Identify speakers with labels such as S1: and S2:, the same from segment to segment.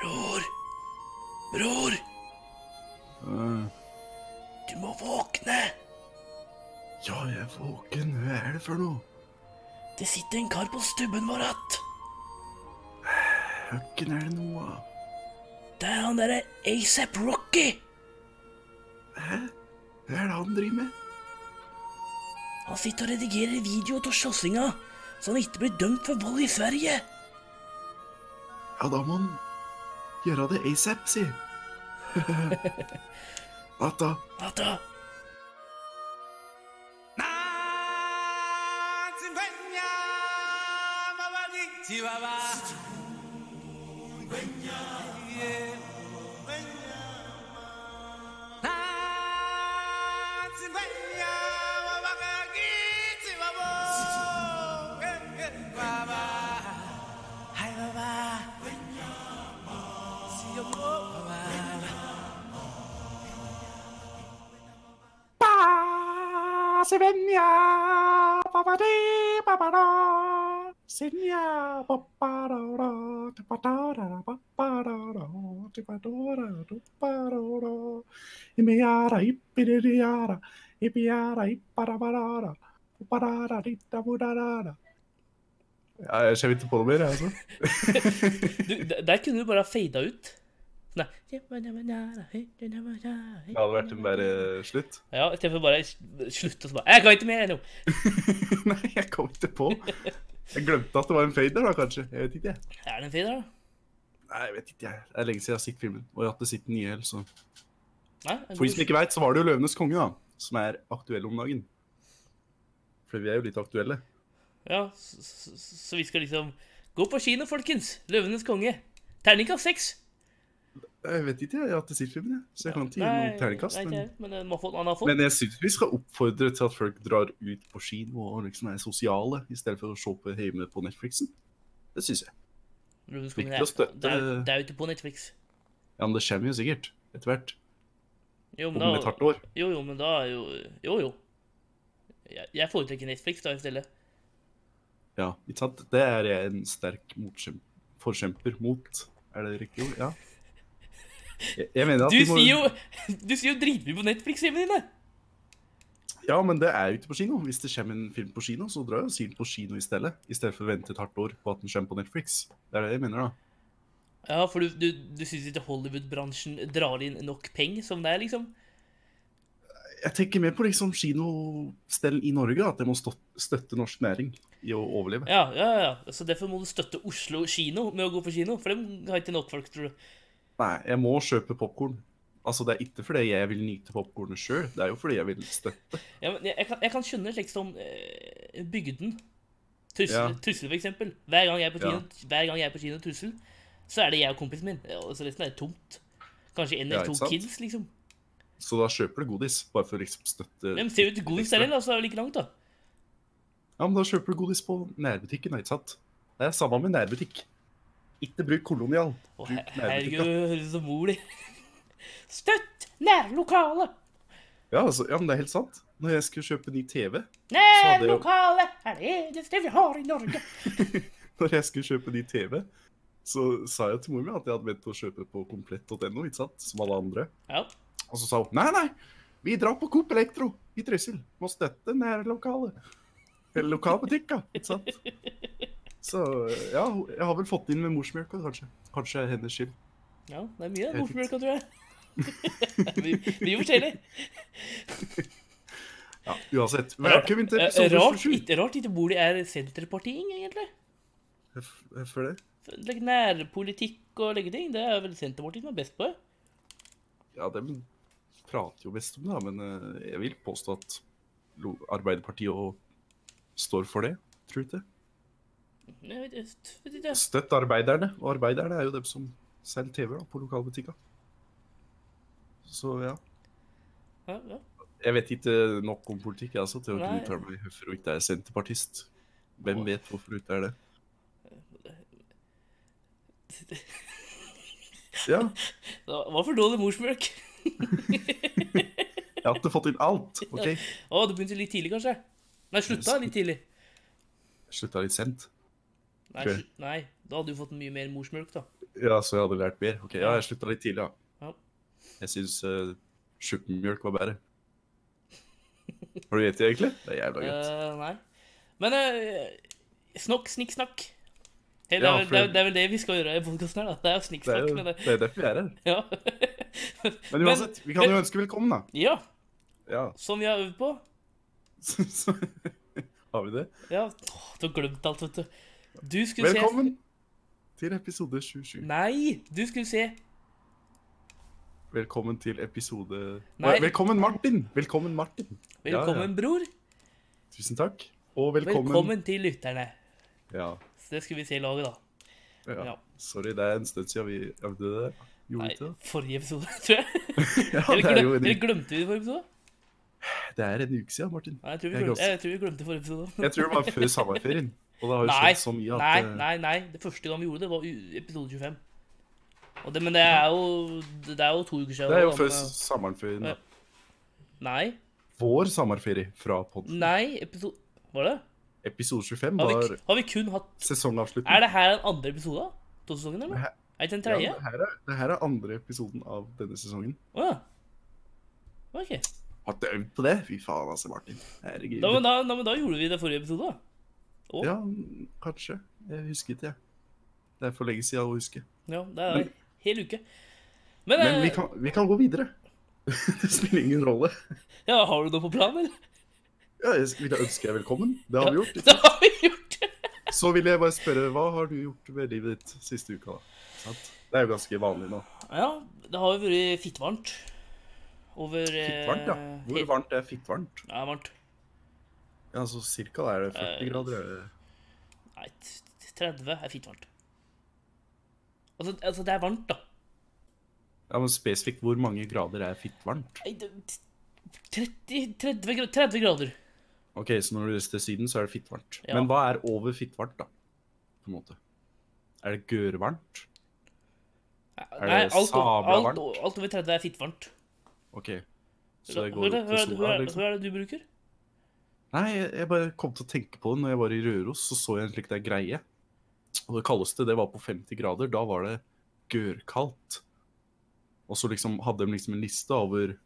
S1: Bror! Bror!
S2: Eh,
S1: Du må våkne!
S2: Ja, jeg er våken. Hva er det for noe?
S1: Det sitter en kar på stubben vår att.
S2: Høkken er det noe av.
S1: Det er han derre ASAP Rocky.
S2: Hæ? Hva er det han driver med?
S1: Han sitter og redigerer video av slåssinga, så han ikke blir dømt for vold i Sverige.
S2: Ja, da må han gjøre det asap, si. At da?
S1: Natta.
S3: 예, 예,
S2: Svenja, babadi, babada, Svenja, babadora, tibadora, babadora, tibadora, tibadora, imiara, ipidiriara, ipiara, iparabarara, uparara, dittabudarara. Ja, jeg ser ikke på noe mer, jeg, altså.
S1: Du, der der kunne du bare ha fada ut. Sånn der. Det
S2: Det hadde vært en bare slutt.
S1: Ja, i stedet for bare sl- slutte og så bare Jeg kan ikke mer nå.
S2: Nei, jeg kom ikke på. Jeg glemte at det var en fader, da, kanskje. Jeg vet ikke, jeg.
S1: Er det en fade, da?
S2: Nei, jeg vet ikke, jeg. Det er lenge siden jeg har sett filmen. Og jeg har ikke sett den nye heller, så
S1: Nei? en
S2: For de som
S1: god-
S2: ikke veit, så var det jo 'Løvenes konge', da. Som er aktuell om dagen. For vi er jo litt aktuelle.
S1: Ja, så, så, så vi skal liksom Gå på kino, folkens! 'Løvenes konge'. Terningkast seks.
S2: Jeg vet ikke, jeg har ikke sett filmen, jeg. Så jeg kan ikke gi
S1: Nei,
S2: noen terningkast.
S1: nei, ikke
S2: Men,
S1: jeg, Men eh, den må få, han har fått.
S2: men jeg syns vi skal oppfordre til at folk drar ut på kino og liksom er sosiale, i stedet for å se på hjemme på Netflixen. Det syns jeg.
S1: Løvenes konge det
S2: Ikke å
S1: er,
S2: støtte-
S1: det, er, det er jo ikke på Netflix.
S2: Ja, men det kommer jo sikkert etter hvert.
S1: Jo, men
S2: Om et
S1: da,
S2: hardt år.
S1: jo, jo, men da er jo Jo, jo. Jeg, jeg foretrekker Netflix da i stedet.
S2: Ja, ikke sant? Det er jeg en sterk motkjem- forkjemper mot. Er det riktig ord? Ja. Jeg, jeg mener at
S1: Du
S2: vi må...
S1: sier jo, du sier jo dritmye på Netflix-hjemmene dine!
S2: Ja, men det er jo ikke på kino. Hvis det kommer en film på kino, så drar jeg og sier den på kino i stedet. I stedet for å vente et hardt år på at den kommer på Netflix. Det er det jeg mener, da.
S1: Ja, for du, du, du syns ikke Hollywood-bransjen drar inn nok penger som det er, liksom?
S2: Jeg tenker mer på liksom kinostell i Norge, da, at jeg må stå- støtte norsk næring i å overleve.
S1: Ja, ja, ja. Så derfor må du støtte Oslo kino med å gå på kino, for de har ikke nok folk, tror du.
S2: Nei, jeg må kjøpe popkorn. Altså, det er ikke fordi jeg vil nyte popkornet sjøl, det er jo fordi jeg vil støtte.
S1: Ja, men jeg, jeg, kan, jeg kan skjønne slik som eh, Bygden. Tussel,
S2: Ja.
S1: Tussel, for eksempel. Hver gang jeg er på
S2: Ja.
S1: kino, hver gang jeg er på kino Tussel, så er det jeg og kompisen min. Ja, Så resten er tomt. Kanskje en eller
S2: Ja, ikke
S1: to
S2: sant?
S1: kids, liksom.
S2: Så da kjøper du godis, bare for å liksom støtte
S1: De ser jo ut gode
S2: ekstra.
S1: steder, da, så er det like langt, da.
S2: Ja, men da kjøper du godis på nærbutikken, da, ikke sant? Det er samme med nærbutikk. Ikke bruk kolonial.
S1: Å,
S2: Bruk
S1: her- herregud,
S2: nærbutikken.
S1: det høres ut som mor di. Støtt nærlokalet!
S2: Ja, altså, ja, men det er helt sant. Når jeg skulle kjøpe ny TV, hadde jo-
S1: Nærlokalet er det eneste vi har i Norge.
S2: når jeg skulle kjøpe ny TV, så sa jeg til mor mi at jeg hadde vent å kjøpe på komplett.no, ikke sant, som alle andre.
S1: Ja,
S2: Og så sa hun, nei, nei, vi drar på Coop Elektro i Trysil. Må støtte nærlokalet. Eller lokalbutikka, ikke sant? Så ja, jeg har vel fått det inn med morsmjølka, kanskje. Kanskje er hennes skyld.
S1: ja det er mye
S2: vet
S1: morfmjølka, tror jeg. Mye mye forskjellig.
S2: Ja, uansett. Velkommen til
S1: Eh,
S2: episode
S1: Rart
S2: 27.
S1: ikke- rart ikke Boli er senterpartiing, egentlig.
S2: Hvorfor det?
S1: For, like, Nærpolitikk og like ting, det er vel Senterpartiet som er best på.
S2: Ja, de prater jo best om det, da, men eh, jeg vil påstå at lo- Arbeiderpartiet også står for det, tror du ikke?
S1: Jeg vet, jeg vet ikke.
S2: Støtt arbeiderne, og arbeiderne er jo dem som selger TV da, på lokalbutikka. Så ja,
S1: Ja, ja.
S2: jeg vet ikke nok om politikk jeg, altså, til å kunne
S1: Nei.
S2: uttale meg hvorfor hun ikke er senterpartist. Hvem vet hvorfor hun ikke er det? Ja,
S1: Det var for dårlig morsmjølk.
S2: jeg har ikke fått inn alt, ok?
S1: Å, det begynte litt tidlig, kanskje? Nei, slutta litt tidlig.
S2: Jeg slutta litt sent.
S1: Nei,
S2: Tror jeg.
S1: sl- nei, da hadde du fått mye mer morsmjølk, da.
S2: Ja, så jeg hadde lært mer. Ok, ja, jeg slutta litt tidlig, ja.
S1: Ja.
S2: Jeg syns uh, tjukkmjølk var bedre. Har du gjett det, egentlig? Det er jævla godt.
S1: Eh, nei. Men eh, snokk, snikk, snakk. Det, det,
S2: Ja,
S1: er, vel-
S2: for-
S1: det, er, det er vel det vi skal gjøre i podkasten her, da. Det er jo snikk,
S2: Det er
S1: snakk.
S2: jo
S1: Men det,
S2: det er derfor vi er her.
S1: ja.
S2: Men uansett, vi kan jo ønske velkommen, da.
S1: ja,
S2: Ja,
S1: som vi har øvd på.
S2: så, så har vi det.
S1: Ja, åh, du har glemt alt, vet du. Du skulle
S2: Velkommen til episode 27.
S1: se Nei, du skulle se
S2: Velkommen til episode
S1: Nei.
S2: Velkommen, Martin! Velkommen, Martin. Ja, ja.
S1: Velkommen, bror.
S2: Tusen takk. Og
S1: Velkommen.
S2: velkommen,
S1: til lytterne.
S2: Ja,
S1: Så det skulle vi se i laget, da.
S2: ja.
S1: Ja.
S2: Sorry, det er en stund siden vi øvde det. der. Gjorde
S1: Nei,
S2: vi ikke det?
S1: forrige episode, tror jeg.
S2: Ja,
S1: Eller,
S2: det er
S1: glem-
S2: jo en,
S1: eller
S2: uke-
S1: glemte vi det forrige episode?
S2: det er en uke siden, Martin.
S1: Nei, jeg tror vi
S2: Jeg
S1: glemte,
S2: også.
S1: jeg tror vi glemte forrige episode.
S2: Jeg tror det var før sommerferien. Og det har jo
S1: Nei,
S2: skjedd så mye at
S1: nei,
S2: eh,
S1: nei, nei. Det første gang vi gjorde det, var u- episode 25. Og det, men det er jo Det er jo to uker siden.
S2: Det er jo
S1: da,
S2: før
S1: men-
S2: sommerferien.
S1: Ja. Nei.
S2: Vår sommerferie fra podden.
S1: Nei, episode Var det?
S2: Episode 25
S1: Har
S2: var
S1: vi, har vi kun hatt Er
S2: sesongavslutning.
S1: det her en andre episode? da? To sesonger, eller?
S2: Hæ?
S1: Er det ikke en
S2: Ja,
S1: tredje?
S2: det, her er, det her er andre episoden av denne sesongen.
S1: Å ja. OK.
S2: Har du øvd på det? Fy faen, altså, Martin. Herregud.
S1: Da, men da, da, men da gjorde vi det forrige episode, da. Å,
S2: Ja, mm, kanskje. Jeg husker ikke, jeg. Det er for lenge siden å huske.
S1: ja. Det er
S2: Men-
S1: hel uke. Men,
S2: Men vi
S1: eh,
S2: kan, vi kan gå videre. Det spiller ingen rolle.
S1: ja, har du noe på planen, eller?
S2: Ja, jeg ville ønske deg velkommen. Det har vi gjort.
S1: Det har vi gjort.
S2: Så vil jeg bare spørre, hva har du gjort med livet ditt siste uka, da? Sant? Det er jo ganske vanlig nå.
S1: Ja, det har jo vært fittvarmt. Over eh,
S2: Fittvarmt, ja. Hvor
S1: helt-
S2: varmt er fittvarmt?
S1: Ja, varmt.
S2: Ja, altså cirka da er det 40
S1: Eh,
S2: grader. er det-
S1: Nei, t- t- 30 er fint varmt. Altså, altså det er varmt, da.
S2: Ja, men spesifikt hvor mange grader er fittvarmt?
S1: Nei, det- t- 30, 30, gra- 30 grader.
S2: Ok, så når du reiser til syden, så er det fittvarmt.
S1: Ja.
S2: Men hva er over fittvarmt, da? På en måte. Er det gørrvarmt? det
S1: Nei, alt, o-
S2: sabla
S1: alt,
S2: varmt?
S1: o- alt over 30 er fint varmt.
S2: Ok. Så
S1: Hva
S2: det
S1: hva
S2: går
S1: er det
S2: opp
S1: hva
S2: til
S1: er det- hva
S2: sola,
S1: er det-
S2: liksom?
S1: hva er det du bruker?
S2: Nei, jeg jeg bare kom til å tenke på det når jeg var i Røros, så så jeg en slik der greie. Og det kaldeste, det var på 50 grader. Da var det gørrkaldt. Og så liksom hadde de liksom en liste over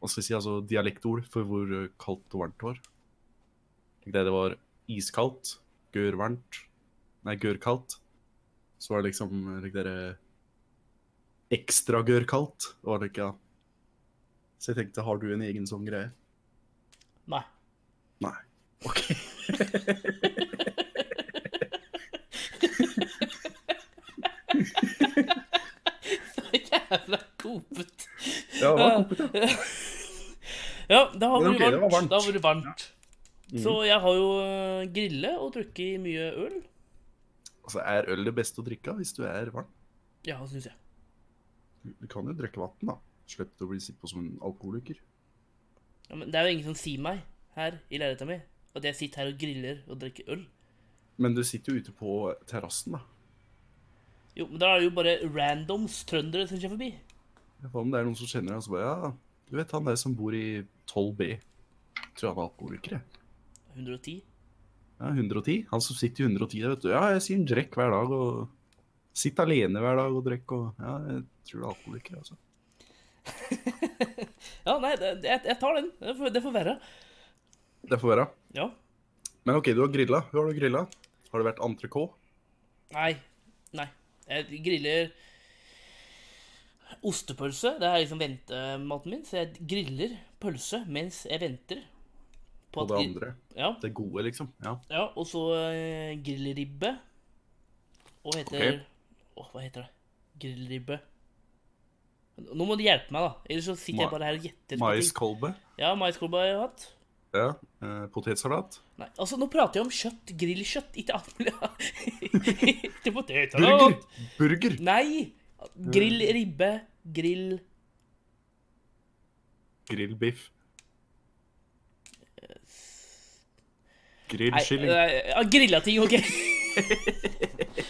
S2: hva skal jeg si, altså dialektord for hvor eh, kaldt og varmt det var. Tenk deg, Det var iskaldt, gørrvarmt Nei, gørrkaldt. Så var det liksom eh, tenk dere, ekstra gørrkaldt. Det var det ikke, ja. Så jeg tenkte, har du en egen sånn greie?
S1: Nei.
S2: Nei. Ok.
S1: Jævla kopet.
S2: Ja, det var kompet, ja.
S1: Ja, det har
S2: Men
S1: vært
S2: ok, det var
S1: varmt.
S2: varmt. Mhm.
S1: Det har vært varmt. Så jeg har jo eh, grille og drukket mye øl.
S2: Altså, er øl det beste å drikke hvis du er varm?
S1: Ja, syns jeg.
S2: Du du kan jo drikke vann, da. Slipp å bli sett på som en alkoholiker.
S1: Ja, men det er jo ingen som sier meg her i leiligheta mi at jeg sitter her og griller og drikker øl.
S2: Men du sitter jo ute på terrassen, da.
S1: Jo, men da er det jo bare randoms trøndere som kommer forbi.
S2: Hva om det er noen som kjenner deg, og så bare Ja, du vet han der som bor i 12B. Tror han er alkoholiker, jeg.
S1: 110.
S2: Ja, 110. Han som sitter i 110 der, vet du. Ja, jeg sier drikk hver dag, og Sitt alene hver dag og drikk, og Ja, jeg tror det er alkoholiker, altså.
S1: Ja, nei, det, jeg, jeg tar den. Det får, det får være.
S2: Det får være.
S1: Ja.
S2: Men OK, du har grilla. Hvor har du grilla? Har det vært entrecôte?
S1: Nei. Nei. Jeg griller ostepølse. Det er liksom ventematen min. Så jeg griller pølse mens jeg venter.
S2: På
S1: at
S2: det
S1: gri-
S2: andre.
S1: Ja,
S2: Det gode, liksom. Ja.
S1: ja og så eh, grillribbe. Og heter
S2: Ok.
S1: Åh, hva heter det? Grillribbe. Nå må du hjelpe meg, da. Ellers så sitter jeg
S2: Ma-
S1: bare her og gjetter. på ting.
S2: Maiskolbe.
S1: Ja, maiskolbe har jeg hatt.
S2: Ja. Eh, potetsalat.
S1: Nei, altså nå prater jeg om kjøtt, grillkjøtt, ikke annet. ikke
S2: Burger!
S1: potetsalat.
S2: Burger!
S1: Nei, grill
S2: Mm.
S1: ribbe, grill
S2: Grillbiff.
S1: Nei,
S2: Grillkylling.
S1: nei, ja, grilla ting, ok.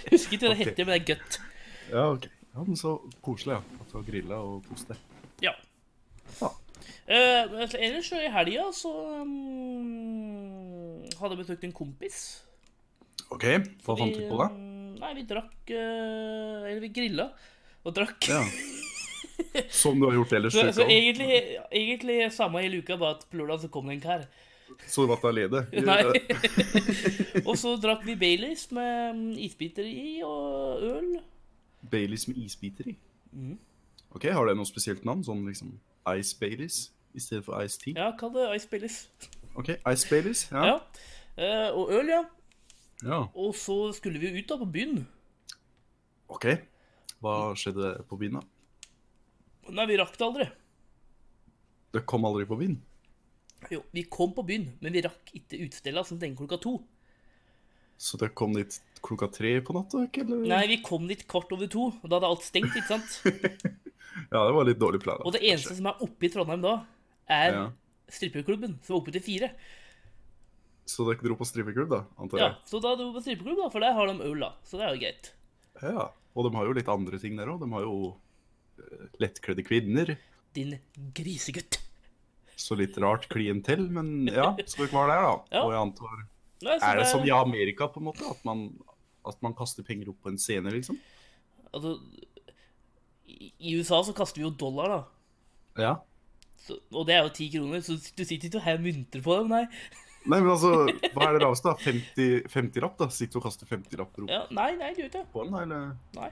S1: Husker ikke hva det
S2: Ok.
S1: heter, men det er godt.
S2: Ja, ok. Ja, men så koselig, ja. At du har grilla og kost deg.
S1: Ja.
S2: Ja.
S1: Eh, men altså, ellers så i helga så mm, hadde jeg besøkt en kompis.
S2: OK, hva fant du på da?
S1: Mm, Nei, vi drakk eh, Eller vi grilla og drakk.
S2: Ja. Som du har gjort ellers. liksom.
S1: Så, så
S2: i uka.
S1: egentlig, egentlig samme hele uka, bare at på lørdag så kom det en kar.
S2: Så du var alene?
S1: Nei. og så drakk vi Baileys med mm, isbiter i og øl.
S2: Baileys med isbiter i?
S1: Mhm.
S2: Ok, Har det noe spesielt navn? Sånn liksom Ice Baileys i stedet for Ice Tea?
S1: Ja, kall det Ice Baileys.
S2: Ok, Ice Baileys?
S1: Ja.
S2: Ja.
S1: Eh, og øl, ja.
S2: ja.
S1: Og så skulle vi jo ut da på byen.
S2: Ok. Hva skjedde på byen, da?
S1: Nei, vi rakk det aldri.
S2: Det kom aldri på byen?
S1: Jo, vi kom på byen, men vi rakk ikke utestella som den klokka to.
S2: Så det kom dit klokka tre på natta? ikke? Eller?
S1: Nei, vi kom dit kvart over to, og da hadde alt stengt, ikke sant?
S2: Ja, det var litt dårlig plan. da,
S1: Og det eneste som er oppe i Trondheim da,
S2: kanskje.
S1: er
S2: ja.
S1: strippeklubben, som er oppe til fire.
S2: Så dere dro på strippeklubb, da? antar
S1: Ja,
S2: jeg?
S1: så da dro vi på strippeklubb, da, for der har de øl, da. Så det er jo greit.
S2: Ja. Og de har jo litt andre ting der òg. De har jo eh, lettkledde kvinner.
S1: Din grisegutt.
S2: Så litt rart klientell, men ja, så dere var der, da.
S1: Ja.
S2: Og jeg antar
S1: Nei, så
S2: Er det sånn, som
S1: er-
S2: i Amerika, på en måte? At man, at man kaster penger opp på en scene, liksom?
S1: Altså, i i USA så kaster vi jo dollar, da.
S2: Ja.
S1: Så, og det er jo ti kroner, så du sitter ikke og har mynter på dem, nei.
S2: Nei, men altså, hva er det laveste, da? 50, 50 lapp, da? Sitter du og kaster 50 lapper opp
S1: Ja, nei, nei, du gjør ikke det.
S2: på den, da, eller?
S1: Nei.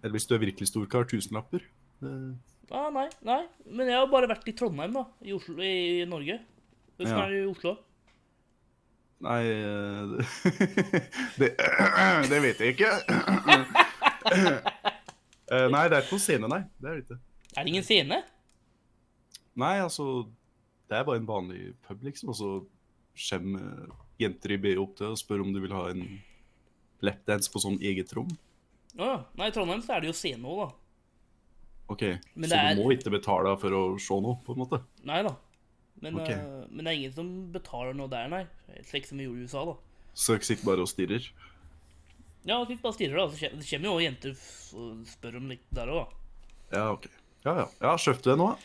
S2: Eller hvis du er virkelig stor kar, tusenlapper? Det-
S1: Ah, nei, nei. Men jeg har bare vært i Trondheim, da. I, Oslo, i, i Norge. Hvordan
S2: Ja.
S1: er det i Oslo?
S2: Nei eh, det, det vet jeg ikke. Eh, Nei, det er ikke noen scene, nei. Det er det ikke.
S1: Er det ingen scene?
S2: Nei, altså Det er bare en vanlig pub, liksom. Og så kommer eh, jenter i BH opp til deg og spør om du vil ha en lapdance på sånn eget rom.
S1: Å ja. Nei, i Trondheim så er det jo scene òg, da.
S2: OK,
S1: Men
S2: så
S1: det
S2: du
S1: er-
S2: må ikke betale for å se noe, på en måte?
S1: Nei da. Men,
S2: Ok.
S1: eh, men det er ingen som betaler noe der, nei. Slik som vi gjorde i USA, da.
S2: Så dere sitter bare og stirrer?
S1: Ja, vi bare stirrer, da. Så kje- Det kommer jo også jenter f- og spør om litt der òg, da.
S2: Ja, OK. Ja, ja. ja Kjøpte du det nå? da?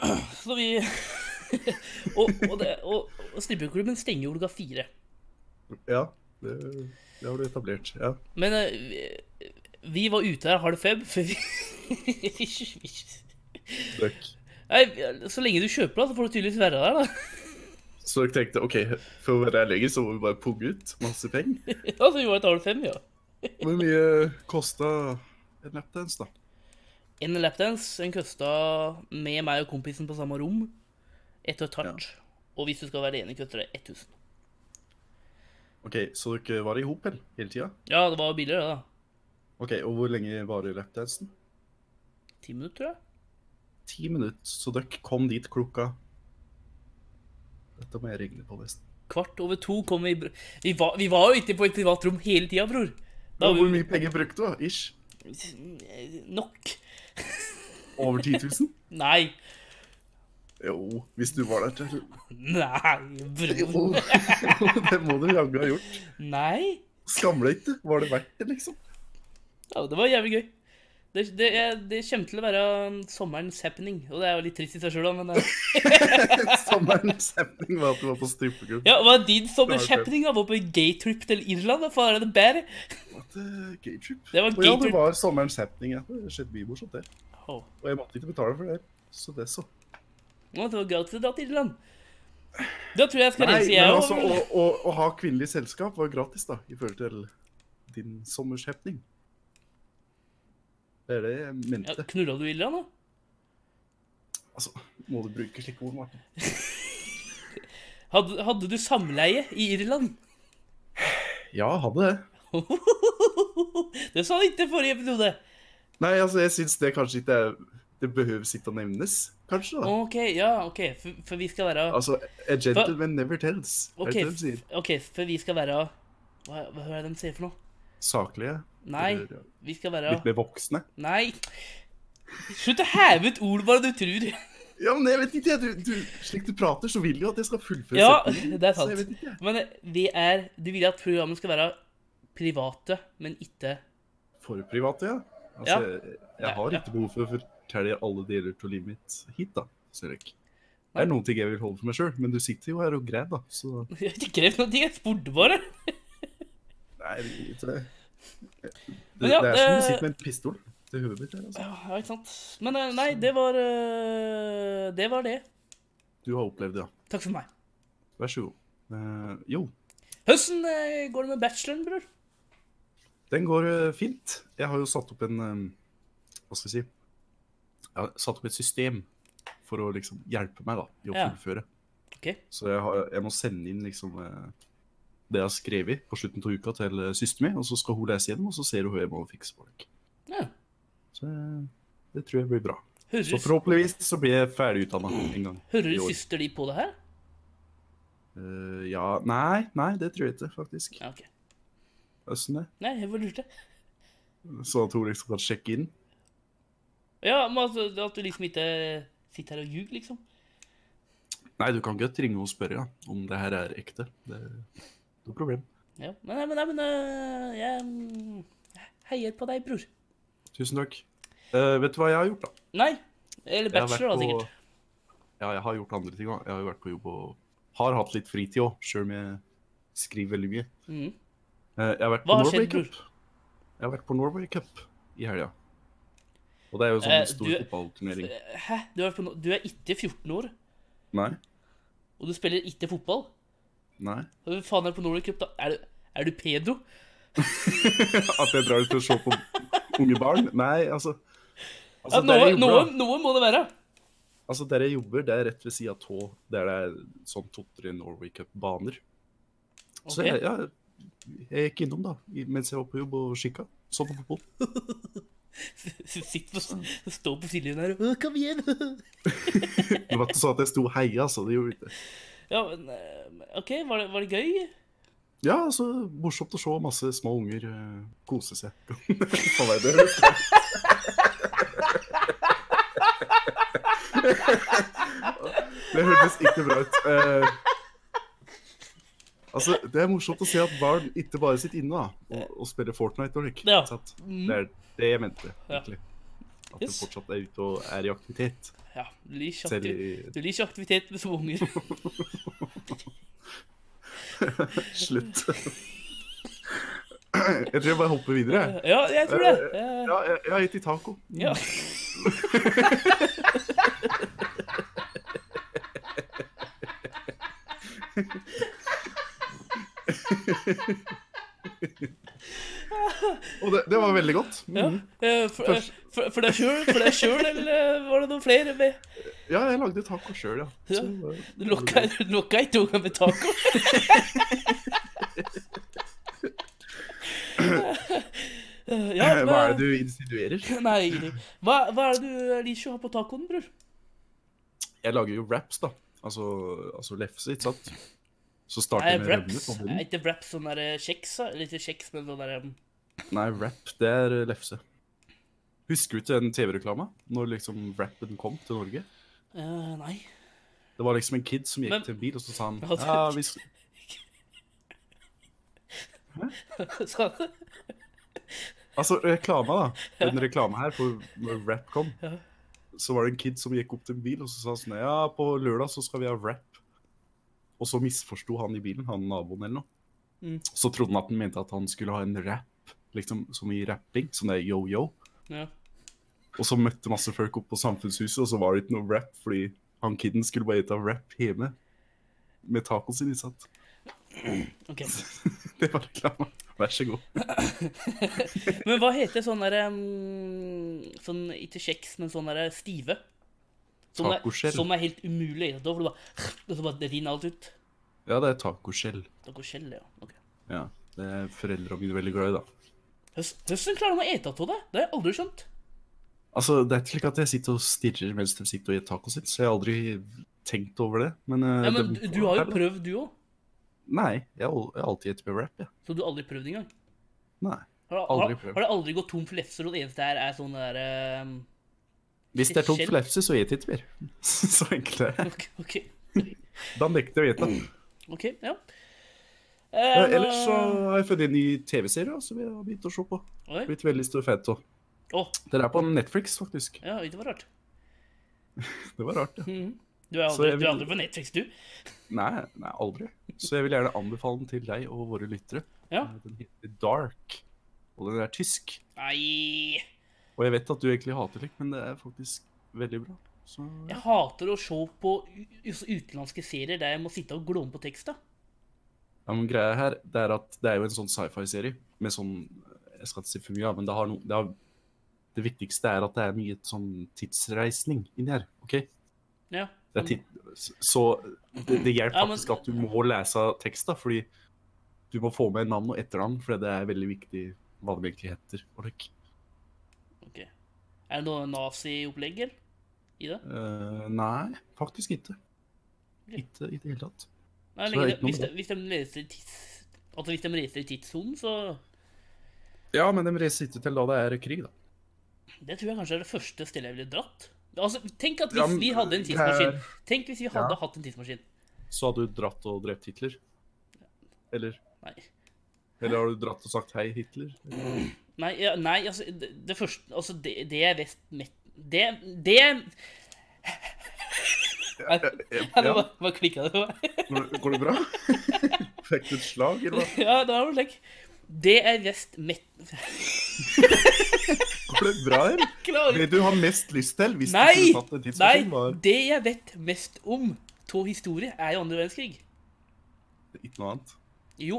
S1: Ja, så vi Og, og, det- og, og strippeklubben stenger jo klokka fire.
S2: Ja. Det, det har du etablert. Ja.
S1: Men eh, vi, vi var ute her halv fem, for vi, vi
S2: Dere
S1: Nei, Så lenge du kjøper, da, så får du tydeligvis være der, da.
S2: Så dere tenkte ok, for å være her lenger så må vi bare punge ut masse penger.
S1: Ja, så vi var et halv fem, ja.
S2: Hvor mye kosta en lapdance, da?
S1: En lapdance den kosta med meg og kompisen på samme rom ett og et hardt. Og hvis du skal være enig, koster det 1000.
S2: Ok, Så dere var i hop hele hele tida?
S1: Ja, det var billigere, det, da.
S2: Ok, og hvor lenge varer lapdansen?
S1: Ti minutter, tror jeg.
S2: Ti minutter. Så dere kom dit klokka Dette må jeg regne på, nesten.
S1: Kvart over to kom vi br- Vi var, vi var jo ikke på et privat rom hele tida, bror. Da
S2: Hvor
S1: var vi
S2: mye penger brukte du, da? Ish?
S1: Nok.
S2: Over 10 000?
S1: Nei.
S2: Jo, hvis du var der til
S1: Nei, bror.
S2: Jo, det må du jaggu ha gjort.
S1: Nei.
S2: Skam deg ikke. Var det verdt det, liksom?
S1: Ja, det var jævlig gøy. Det, det, jeg- det kommer til å være sommerens happening, og det er jo litt trist i seg sjøl, da, men eh,
S2: Sommerens happening var at du var på strippeklubb.
S1: Ja, hva er din sommerens happening? da? Var på en gaytrip til Irland? da? Faen, er det bedre?
S2: At, eh, gay trip.
S1: Det var en
S2: Og
S1: gay
S2: ja, det
S1: trip.
S2: var sommerens happening. Ja. Det skjedde mye morsomt der.
S1: Åh,
S2: Og jeg måtte ikke betale for det. Så det, så.
S1: nå, det var galt å dra til Irland. Da tror jeg jeg skal
S2: Nei,
S1: reise,
S2: men
S1: jeg
S2: altså, å,
S1: òg.
S2: å, å ha kvinnelig selskap var gratis, da, i forhold til din sommers happening. Det er det jeg
S1: Ja,
S2: mente.
S1: Knulla du Irland, da?
S2: Altså, må du bruke slike ord, Martin?
S1: Hadde, hadde du samleie i Irland?
S2: Ja, jeg hadde det.
S1: Det sa han ikke i forrige episode.
S2: Nei, altså, jeg syns det kanskje ikke er Det behøves ikke å nevnes, kanskje, da.
S1: OK, ja, OK, for, for vi skal være
S2: Altså, a gentleman never tells. er
S1: OK,
S2: det de sier.
S1: f- ok, for vi skal være Hva, hva er det de sier for noe?
S2: Saklige.
S1: Nei,
S2: eller, ja,
S1: vi skal være
S2: Litt mer voksne.
S1: Nei. Slutt å heve ut ord bare du tror.
S2: Ja, men jeg vet ikke, jeg. Du, du, slik du prater, så vil du jo at jeg skal fullføre
S1: Ja,
S2: setningen.
S1: det er
S2: Så jeg
S1: sant.
S2: vet ikke. jeg.
S1: Men eh, vi er Du vil at programmet skal være private, men ikke
S2: For privat, ja. Altså, jeg, jeg har
S1: Ja.
S2: ikke behov for å fortelle alle deler av livet mitt hit, da. Ser jeg ikke. Det er noen ting jeg vil holde for meg sjøl, men du sitter jo her og græver, da. Så
S1: Jeg har ikke krevd noe, jeg spurte bare.
S2: Nei, Nei, det, det, det,
S1: Men ja, eh,
S2: det er som å
S1: det-
S2: sitte med en pistol til hodet mitt. her, Altså.
S1: Ja, ja, ikke sant. Men eh, nei, det var eh, Det var det.
S2: Du har opplevd det, ja.
S1: Takk for meg.
S2: Vær så god. Eh, jo,
S1: Hvordan eh, går det med bacheloren, bror?
S2: den går eh, fint. Jeg har jo satt opp en eh, Hva skal jeg si Jeg har satt opp et system for å liksom hjelpe meg da, i å
S1: Ja.
S2: fullføre.
S1: Ok.
S2: Så jeg, har, jeg må sende inn liksom eh, det jeg har skrevet på slutten av uka til eh, søsteren min, og så skal hun lese gjennom, og så ser hun hva jeg må fikse på. deg.
S1: Ja.
S2: Så eh, det tror jeg blir bra. Så
S1: Hører,
S2: forhåpentligvis så blir jeg ferdig utdanna en gang. i
S1: hører
S2: år.
S1: søster di på det her?
S2: Eh, ja Nei, nei, det tror jeg ikke, faktisk.
S1: Ja, ok.
S2: Åssen det?
S1: Nei, jeg bare lurte.
S2: Sånn at hun liksom kan sjekke inn.
S1: Ja, men at, at du liksom ikke sitter her og ljuger, liksom.
S2: Nei, du kan godt ringe og spørre ja, om det her er ekte. Det er noe problem.
S1: Ja, men, nei, men, nei, men eh, jeg mm, heier på deg, bror.
S2: Tusen takk. Eh, vet du hva jeg har gjort, da?
S1: Nei. Eller
S2: Jeg har vært
S1: bachelor, da,
S2: på-
S1: sikkert.
S2: Ja, jeg har gjort andre ting òg. Jeg har jo vært på jobb og har hatt litt fritid òg, sjøl om jeg skriver veldig mye.
S1: Mhm.
S2: Eh, jeg har vært
S1: Hva
S2: på
S1: har
S2: Norway
S1: skjedd,
S2: Cup. Jeg har vært på Norway Cup i helga. Og det er jo sånn
S1: Eh,
S2: stor
S1: du-
S2: fotballturnering.
S1: Eh, Hæ? Du er, på, no- du er ikke 14 år,
S2: Nei?
S1: og du spiller ikke fotball?
S2: Nei?
S1: Hva faen er det på Norway Cup, da? Er du, er du pedo?
S2: At jeg drar ut og ser på unge barn? Nei, altså
S1: Ja,
S2: Altså,
S1: noe,
S2: der jeg jobber,
S1: noe,
S2: da.
S1: noe må det være.
S2: altså, der jeg jobber, det er rett ved sida av der det er sånn to-tre Norway Cup-baner. Så
S1: Ok.
S2: jeg, ja, jeg gikk innom da, i- mens jeg var på jobb og kikka. Så på fotball.
S1: Sitt på, stå på sidelinjen her og «Å, Kom igjen!
S2: Det var ikke sånn at jeg sto og heia, så det gjorde ikke.
S1: Ja, men eh, OK, var det, var det gøy?
S2: Ja, altså, morsomt å se masse små unger eh, kose seg. Faen, nei, det høres bra ut. Det hørtes ikke bra ut. Eh, altså, det er morsomt å se at barn ikke bare sitter inne da, og, og spiller Fortnite og lik.
S1: Ja.
S2: ikke sant?
S1: Mm.
S2: Det er det jeg mente,
S1: Ja.
S2: egentlig. At du
S1: Yes.
S2: fortsatt er ute og er i aktivitet.
S1: Ja, du liker
S2: Selv
S1: aktiv-
S2: i
S1: du liker aktivitet med små unger.
S2: Slutt. jeg tror jeg bare hopper videre. jeg.
S1: Ja, jeg tror det. Eh,
S2: Ja, jeg, jeg har gitt i taco.
S1: Ja.
S2: Og det, det var veldig godt. Mm.
S1: ja. Eh, For, eh, for, for deg sjøl, for deg sjøl, eller eh, var det noen flere? med?
S2: Ja, jeg lagde taco sjøl, ja. Så, eh,
S1: Du lokka du lokka ikke ungene med taco? Eh, Ja,
S2: Hva er det du insinuerer?
S1: Nei, ingenting. Hva, hva er det du liker å ha på tacoen, bror?
S2: Jeg lager jo wraps, da. Altså, altså lefse, ikke sant? Så starter
S1: Nei,
S2: jeg med rømme
S1: wraps.
S2: på
S1: Nei,
S2: bunnen.
S1: Ikke wraps, sånn der eh, kjeks, da. Eller ikke kjeks, men sånn der um,
S2: Nei, wrap, det er eh, lefse. Husker du ikke den TV-reklama? Når liksom wrappen kom til Norge?
S1: eh, Nei.
S2: Det var liksom en kid som gikk
S1: Men-
S2: til en bil, og så sa han
S1: Ja, det-
S2: Ja, hvis
S1: Så,
S2: Altså, reklama, da. Den reklama her, for når rap kom,
S1: Ja.
S2: så var det en kid som gikk opp til en bil og så sa han sånn Ja, på lørdag så skal vi ha rap. Og så misforsto han i bilen, han naboen eller noe.
S1: Mm.
S2: Så trodde han at han mente at han skulle ha en rap, liksom som i rapping, som det er yo-yo.
S1: ja.
S2: Og så møtte masse folk opp på Samfunnshuset, og så var det ikke noe rap, fordi han kiden skulle bare spise rap hjemme med tacoen sin, ikke sant.
S1: OK.
S2: Det var reklama. Vær så god.
S1: Men hva heter sånn derre um, Sånn ikke kjeks, men sånn derre stive? Som er,
S2: Tacoskjell.
S1: som er helt umulig å ete, for du bare Og så bare det rinner alt ut.
S2: Ja, det er tacoskjell.
S1: Tacoskjell, ja. Ok.
S2: Ja. Det er foreldra mine veldig glad i, da.
S1: Høs- Hvordan klarer de å ete av det? Det har jeg aldri skjønt.
S2: Altså, Det er ikke slik at jeg sitter og stirrer mens de sitter og gjør taco sitt, så jeg har aldri tenkt over det. Men, eh,
S1: Ja, men du,
S2: det-
S1: du har jo prøvd, du òg.
S2: Nei, jeg har al- jeg har alltid gitt med rap, jeg.
S1: Så du har aldri prøvd engang?
S2: Nei.
S1: Har, har,
S2: Aldri prøvd.
S1: har du aldri gått tom for lefser, og det eneste her er sånn der um,
S2: Hvis det er tomt
S1: Skjell.
S2: for lefse, så gir jeg ikke mer. så enkelt er det.
S1: OK. ok.
S2: Da nekter jeg å gjette.
S1: Ok, ja.
S2: Eh, Ellers så har jeg funnet en ny TV-serie da, som jeg har begynt å se på.
S1: Oi.
S2: Blitt veldig stor fan av.
S1: Å,
S2: Den er på Netflix, faktisk.
S1: ja, det var rart.
S2: Det var rart, ja.
S1: Mhm. Du er
S2: Så
S1: aldri,
S2: jeg
S1: du er
S2: vil-
S1: aldri på Netflix, du.
S2: Nei, nei, aldri. Så jeg vil gjerne anbefale den til deg og våre lyttere.
S1: Ja.
S2: Den heter Dark, og den er tysk.
S1: Nei
S2: Og jeg vet at du egentlig hater det, men det er faktisk veldig bra. Så
S1: Jeg hater å se på u- altså utenlandske serier der jeg må sitte og glåne på teksta.
S2: Ja, men greia her, det er at det er jo en sånn sci-fi-serie med sånn Jeg skal ikke si for mye, ja, men det har noe det, har, det viktigste er at det er mye sånn tidsreisning inni her. OK?
S1: Ja.
S2: Det er tid, så det, det
S1: Mm.
S2: hjelper
S1: Ja, men-
S2: faktisk at du må lese tekst, da, fordi du må få med navn og etternavn, for det er veldig viktig hva de egentlig heter. og lik.
S1: Ok. Er det noe naziopplegg eller? i det?
S2: Eh, nei, faktisk ikke. Ikke i det hele tatt.
S1: Nei,
S2: Så
S1: lenge
S2: det er
S1: det
S2: ikke noe
S1: hvis, de,
S2: med
S1: hvis de reiser i tids... Altså, hvis de reiser i tidssonen, så
S2: Ja, men de reiser ikke til da det er krig, da.
S1: Det tror jeg kanskje er det første stedet jeg ville dratt. Altså, tenk at hvis
S2: Ja, men-
S1: vi hadde en tidsmaskin
S2: det
S1: Tenk hvis vi hadde
S2: Ja.
S1: hatt en tidsmaskin.
S2: Så hadde du dratt og drept Hitler? Eller?
S1: Nei.
S2: Eller har du dratt og sagt 'hei, Hitler'?
S1: Nei, ja, nei altså Det, det første Altså, det, det er vest... met- Det Det Nei, det
S2: Ja,
S1: var, var klikka det for meg.
S2: går går det bra? Fikk du et slag, eller hva?
S1: Ja, det var vel slik. Det er vest... Met...
S2: Går det bra, eller?
S1: Klarer
S2: Det du har mest lyst til, hvis
S1: Nei!
S2: du kunne tatt en
S1: Nei,
S2: tidsmaskin, var
S1: det jeg vet mest om av historie, er jo andre verdenskrig.
S2: ikke noe annet.
S1: Jo,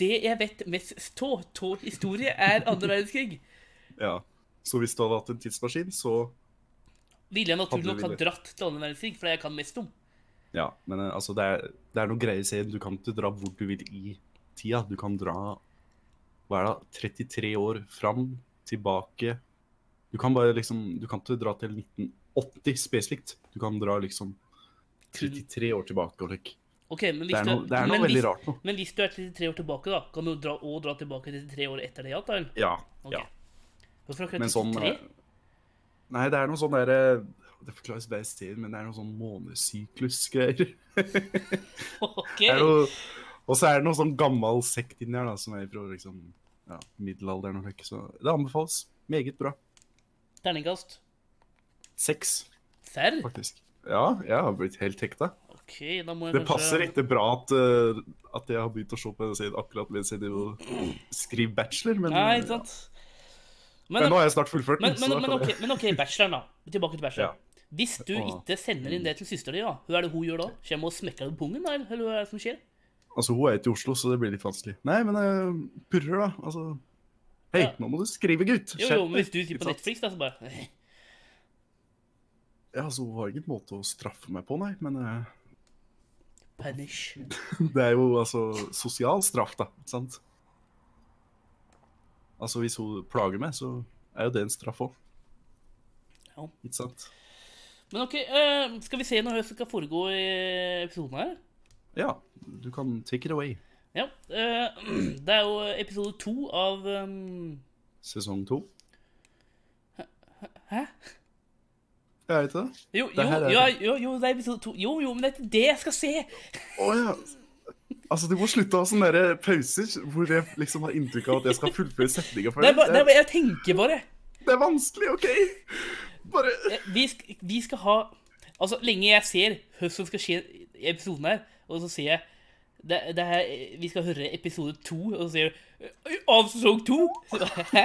S1: det jeg vet mest av av historie, er andre verdenskrig.
S2: Ja. Så hvis du hadde hatt en tidsmaskin, så
S1: Ville jeg naturlig
S2: Hadde
S1: nok ha
S2: villet.
S1: dratt til andre verdenskrig, for det jeg kan mest om.
S2: Ja, men eh, altså, det er, det er noen greier i serien. Du kan ikke dra hvor du vil i tida. Du kan dra hva er det, 33 år fram, tilbake. Du kan bare liksom Du kan ikke dra til 1980 spesifikt. Du kan dra liksom 33 år tilbake. og lik.
S1: Ok, men
S2: Det
S1: hvis
S2: er noe,
S1: du
S2: det er noe
S1: men
S2: veldig
S1: hvis,
S2: rart nå.
S1: Men hvis du er 33 år tilbake, da, kan du dra, og dra tilbake 33 år etter det igjen? da, eller?
S2: Ja.
S1: Ok.
S2: ja.
S1: Hvorfor akkurat
S2: Men sånn
S1: 33?
S2: eh, Nei, det er noe sånn derre Det forklares best i serien, men det er noe sånn månesyklus-greier.
S1: Ok,
S2: Det er jo, og så er det noe sånn gammel sekt inni her da, som er fra liksom, ja, middelalderen og slik. Så det anbefales. Meget bra.
S1: terningkast.
S2: Seks,
S1: Serr?
S2: faktisk. Ja, jeg har blitt helt hekta.
S1: Ok, da må jeg
S2: Det passer ikke bra at, eh, at jeg har begynt å se på denne serien akkurat mens jeg driver og skriver bachelor, men, eh,
S1: Nei, ikke sant?
S2: ja.
S1: Men,
S2: men nå har jeg snart fullført
S1: Men,
S2: den.
S1: men,
S2: så da
S1: men,
S2: kan
S1: ok,
S2: jeg-
S1: men ok, bacheloren, da. Tilbake til bacheloren. Hvis du
S2: Åh.
S1: ikke sender inn det til søstera di, da, hva er det hun gjør da? Kommer hun og smekker deg på pungen, da? Eller hva er det som skjer?
S2: Altså, hun er ikke i Oslo, så det blir litt vanskelig. Nei, men eh, purrer, da. Altså Hei,
S1: Ja.
S2: nå må du skrive, gutt!
S1: Jo, jo,
S2: Skjerp
S1: men hvis
S2: deg,
S1: du sitter
S2: ikke
S1: på
S2: sant?
S1: Netflix, da, så bare eh,
S2: Ja, altså, hun har ingen måte å straffe meg på, nei, men eh,
S1: Punish.
S2: Det er jo altså sosial straff, da. ikke Sant? Altså, hvis hun plager meg, så er jo det en straff òg.
S1: Ja.
S2: Ikke sant?
S1: Men OK, eh, skal vi se når det skal foregå i episoden her?
S2: Ja, du kan take it away.
S1: Ja. eh, det er jo episode to av um,
S2: Sesong to.
S1: Hæ?
S2: Jeg vet ikke det.
S1: Jo,
S2: Det
S1: jo,
S2: her er-
S1: ja, jo, jo, det er episode to. Jo, jo, men det er ikke det jeg skal se!
S2: Å ja. Altså, du må slutte å ha sånne der pauser hvor jeg liksom har inntrykk av at jeg skal fullføre setninga.
S1: Det er bare, det er
S2: Det,
S1: bare, jeg tenker bare.
S2: det er vanskelig, OK? Bare
S1: Eh, vi, sk vi skal ha Altså, lenge jeg ser hva som skal skje i episoden her, og så ser jeg det, det her, eh, Vi skal høre episode to, og så sier du «Øy, Av sesong to! Så bare, Hæ?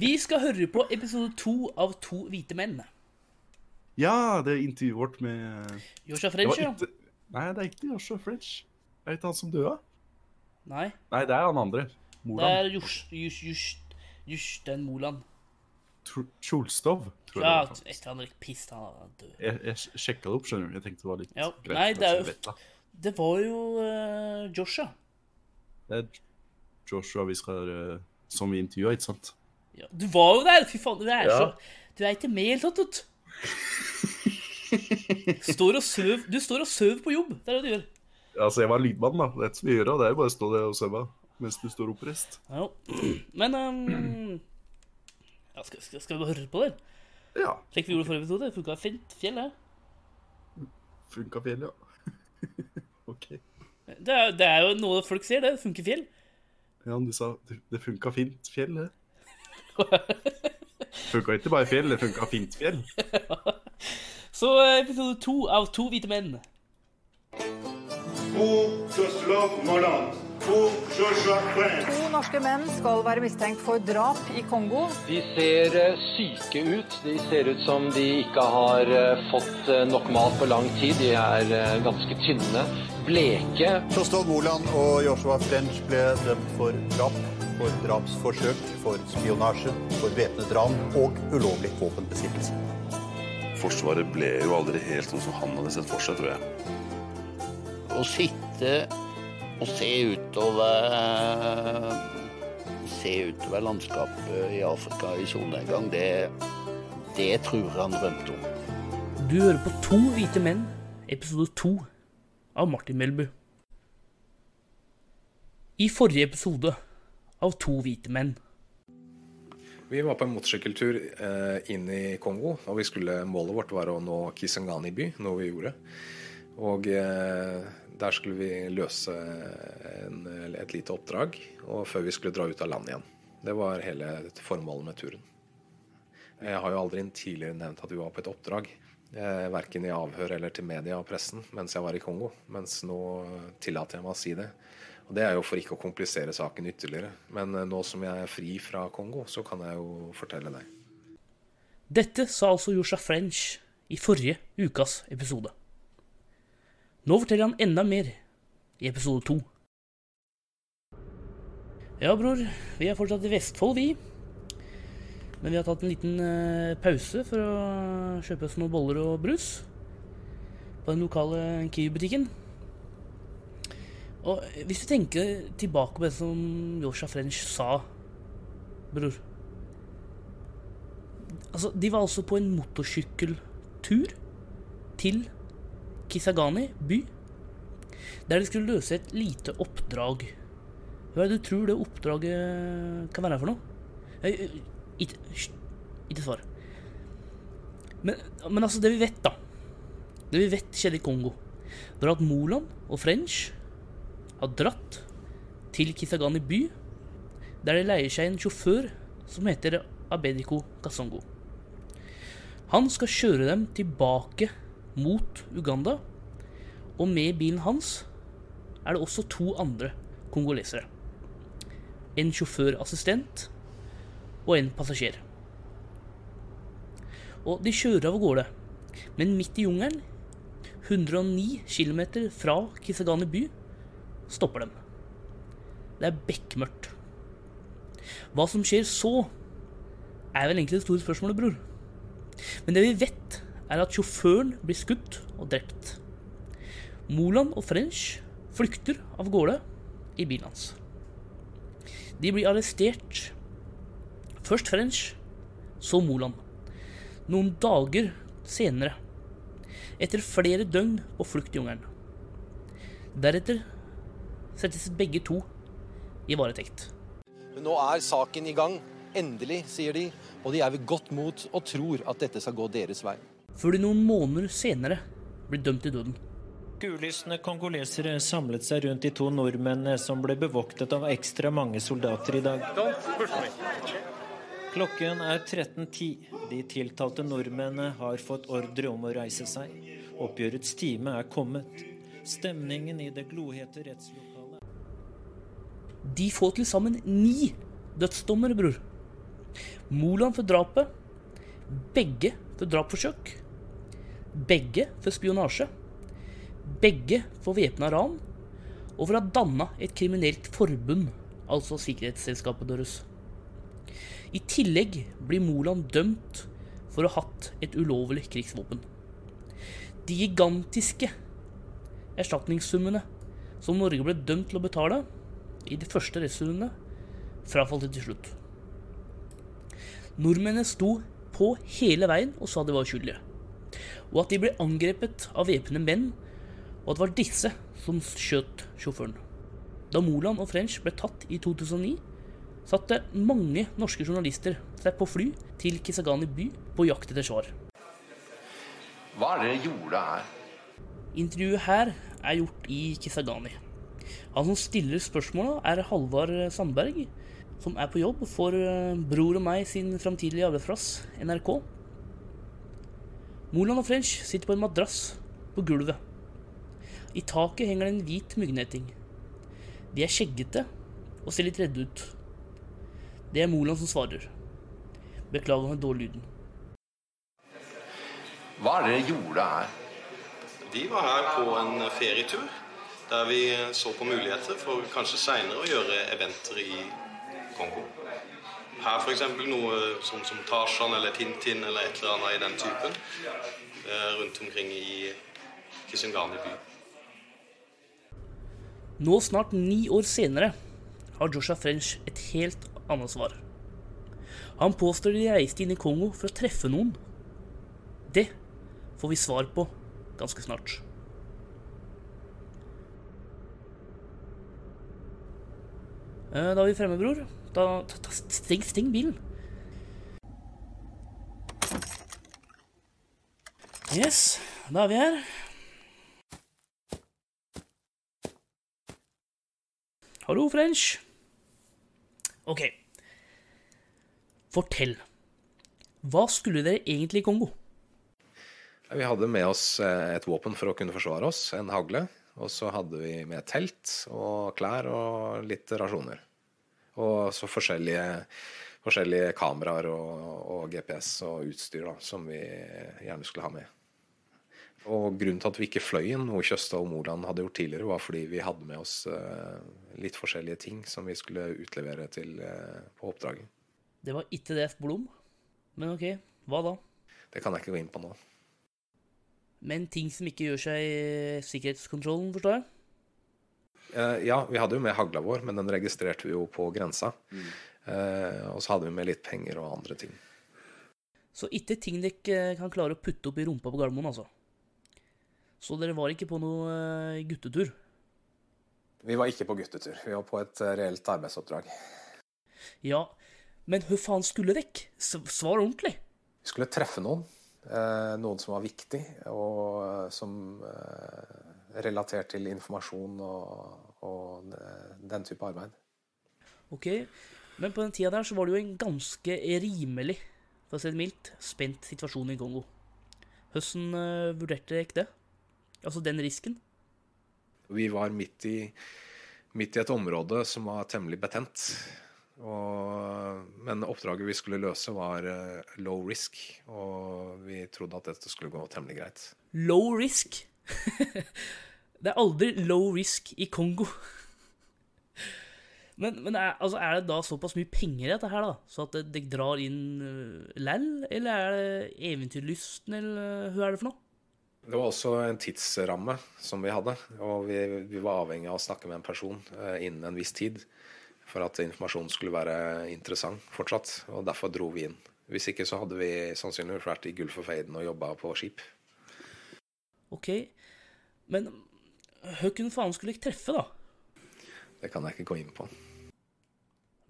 S1: Vi skal høre på episode to av To hvite menn.
S2: Ja, det er intervjuet vårt med
S1: Joshua
S2: det
S1: French,
S2: var
S1: ja.
S2: ikke... Nei, det er ikke Joshua French. Er det ikke han som døde?
S1: Nei,
S2: Nei, det er han andre.
S1: det
S2: Moran.
S1: er Jors- Jors- Jors- Jorstein Moland.
S2: Tr- Tjolstov, tror
S1: Ja,
S2: jeg. det var.
S1: etter han røyk piss, han er død.
S2: Jeg, jeg sjekka det opp, skjønner du. Jeg tenkte det var litt
S1: Ja,
S2: greit.
S1: nei, det er jo-
S2: så jeg vet da.
S1: Det var jo eh, Joshua.
S2: Det er Joshua vi skal, eh, som vi intervjua, ikke sant?
S1: Ja, du var jo der! Fy faen, du er
S2: Ja.
S1: så Du er ikke med i det hele tatt, vet du. Står og søv, du står og søv på jobb. Det er det du gjør.
S2: Altså, jeg var lydmann, da. Det er ikke så mye å gjøre. Det er jo bare å stå der og sømme mens du står oppreist.
S1: Ja, jo. Men ehm, ja, skal, skal, skal vi bare høre på det?
S2: Ja.
S1: Slik vi gjorde i forrige episode. Det Funka fint. Fjell, det.
S2: Funka fjellet, ja. OK.
S1: Det er, det er jo noe folk ser, det. Funker fjell.
S2: Ja, men du sa du- det funka fint fjell, det. Funka ikke bare fjell, det funka fint fjell.
S1: Så eh, episode to av To hvite menn.
S3: Où je slope mon lance, où je chapelle.
S4: To norske menn skal være mistenkt for drap i Kongo.
S5: De ser eh, syke ut. De ser ut som de ikke har eh, fått eh, nok mat på lang tid. De er eh, ganske tynne, bleke.
S6: Torstol Moland og Joshua French ble dømt for drap, for drapsforsøk, for spionasje, for væpnet ran og ulovlig våpenbesittelse.
S7: Forsvaret ble jo aldri helt sånn som han hadde sett for seg, tror jeg.
S8: å sitte og se utover eh, Se utover landskapet i Afrika i solnedgang, det, det tror jeg han drømte om.
S1: Du hører på To hvite menn, episode to av Martin Melbu. I forrige episode av To hvite menn
S9: Vi var på en motorsykkeltur eh, inn i Kongo, og vi skulle, målet vårt var å nå Kisangani by, noe vi gjorde. Og eh, der skulle vi løse en, et lite oppdrag og før vi skulle dra ut av landet igjen. Det var hele formålet med turen. Jeg har jo aldri tidligere nevnt at vi var på et oppdrag. Eh, verken i avhør eller til media og pressen mens jeg var i Kongo. Mens nå tillater jeg meg å si det. Og det er jo for ikke å komplisere saken ytterligere. Men eh, nå som jeg er fri fra Kongo, så kan jeg jo fortelle deg.
S1: Dette sa altså Joshua French i forrige ukas episode. Nå forteller han enda mer i episode to. Ja, bror, vi er fortsatt i Vestfold, vi. Men vi har tatt en liten eh, pause for å kjøpe oss noen boller og brus på den lokale Kiwi-butikken. Og hvis du tenker tilbake på det som Joshua French sa, bror Altså, de var altså på en motorsykkeltur til Kisagani by, der de skulle løse et lite oppdrag. Hva er det du tror det oppdraget kan være for noe? Eh, eh, Ikke, hysj, ikke svar. Men, men altså, det vi vet, da Det vi vet skjedde i Kongo, det var at Moland og French har dratt til Kisagani by, der de leier seg en sjåfør som heter Abediko Kasongo. Han skal kjøre dem tilbake mot Uganda, og med bilen hans er det også to andre kongolesere. En sjåførassistent og en passasjer. Og de kjører av gårde, men midt i jungelen, 109 km fra Kisagane by, stopper dem. Det er bekmørkt. Hva som skjer så, er vel egentlig det store spørsmålet, bror. Men det vi vet, er at sjåføren blir skutt og drept. Moland og French flykter av gårde i bilen hans. De blir arrestert. Først French, så Moland. Noen dager senere. Etter flere døgn på flukt i jungelen. Deretter settes begge to i varetekt.
S5: Men nå er saken i gang. Endelig, sier de. Og de er ved godt mot og tror at dette skal gå deres vei.
S1: Før de noen måneder senere blir dømt til døden.
S10: Kulysne kongolesere samlet seg rundt de to nordmennene som ble bevoktet av ekstra mange soldater i dag. Klokken er 13.10. De tiltalte nordmennene har fått ordre om å reise seg. Oppgjørets time er kommet. Stemningen i det glohete rettslokalet
S1: De får til sammen ni dødsdommer, bror. Moland for drapet. Begge for drapsforsøk. Begge for spionasje. Begge for væpna ran. Og for å ha danna et kriminelt forbund, altså sikkerhetsselskapet deres. I tillegg blir Moland dømt for å ha hatt et ulovlig krigsvåpen. De gigantiske erstatningssummene som Norge ble dømt til å betale, i de første rettsrundene frafalt de til slutt. Nordmennene sto på hele veien og sa de var uskyldige, og at de ble angrepet av væpnede menn, og at det var disse som skjøt sjåføren. Da Moland og French ble tatt i 2009, satte mange norske journalister seg på fly til Kisagani by på jakt etter svar.
S7: Hva er det dere gjorde her?
S1: Intervjuet her er gjort i Kisagani. Han som stiller spørsmåla, er Halvard Sandberg, som er på jobb for eh, Bror og meg sin framtidige arbeidsplass, NRK. Moland og French sitter på en madrass på gulvet. I taket henger det en hvit myggnetting. De er skjeggete og ser litt redde ut. Det er Moland som svarer. Beklager den dårlige lyden.
S11: Hva er det dere gjorde her?
S12: Vi var her på en ferietur der vi så på muligheter for kanskje seinere å gjøre eventer i Kongo. Her f.eks. noe som, som Tarzan eller Tintin eller et eller annet i den typen eh, rundt omkring i Kisungani by.
S1: Nå snart ni år senere har Joshua French et helt annet svar. Han påstår de reiste inn i Kongo for å treffe noen. Det får vi svar på ganske snart. Eh, Da er vi fremme, bror. Da, ta, ta, steng, steng bilen. Yes, da er vi her. Hallo, French. Ok. Fortell. Hva skulle dere egentlig i Kongo?
S9: Vi hadde med oss eh, et våpen for å kunne forsvare oss, en hagle. Og så hadde vi med telt og klær og litt rasjoner. Og så forskjellige, forskjellige kameraer og, og GPS og utstyr da, som vi gjerne skulle ha med. Og grunnen til at vi ikke fløy inn, noe Tjøstad og Moland hadde gjort tidligere, var fordi vi hadde med oss eh, litt forskjellige ting som vi skulle utlevere til, eh, på oppdraget.
S1: Det var ikke DF Blom. Men ok, hva da?
S9: Det kan jeg ikke gå inn på nå.
S1: Men ting som ikke gjør seg i sikkerhetskontrollen, forstår jeg?
S9: Eh, ja, vi hadde jo med hagla vår, men den registrerte vi jo på grensa. Eh, og så hadde vi med litt penger og andre ting.
S1: Så ikke ting dere ikke kan klare å putte opp i rumpa på Gardermoen, altså. Så dere var ikke på noe eh, guttetur?
S9: Vi var ikke på guttetur, vi var på et eh, reelt arbeidsoppdrag.
S1: Ja, men hva faen skulle dere? S- Svar ordentlig.
S9: Vi skulle treffe noen, eh, noen som var viktig, og eh, som eh, relatert til informasjon og, og eh, den type arbeid.
S1: Ok, men på den tida der så var det jo en ganske rimelig, for å si det mildt, spent situasjon i Kongo. Hvordan eh, vurderte dere det? Altså den risken?
S9: Vi var midt i, midt i et område som var temmelig betent. Og, men oppdraget vi skulle løse, var eh, low risk, og vi trodde at dette skulle gå temmelig greit.
S1: Low risk. det er aldri low risk i Kongo. Men, men er, altså, er det da såpass mye penger i dette her, da? Så at dere drar inn uh, lall? Eller er det eventyrlysten, eller øh, hva er det for noe?
S9: Det var også en tidsramme som vi hadde, og vi, vi var avhengig av å snakke med en person eh, innen en viss tid for at informasjonen skulle være interessant fortsatt, og derfor dro vi inn. Hvis ikke så hadde vi sannsynligvis vært i Gulf of Aden og jobba på skip.
S1: Ok, men eh, hvem faen skulle dere treffe, da?
S9: Det kan jeg ikke gå inn på.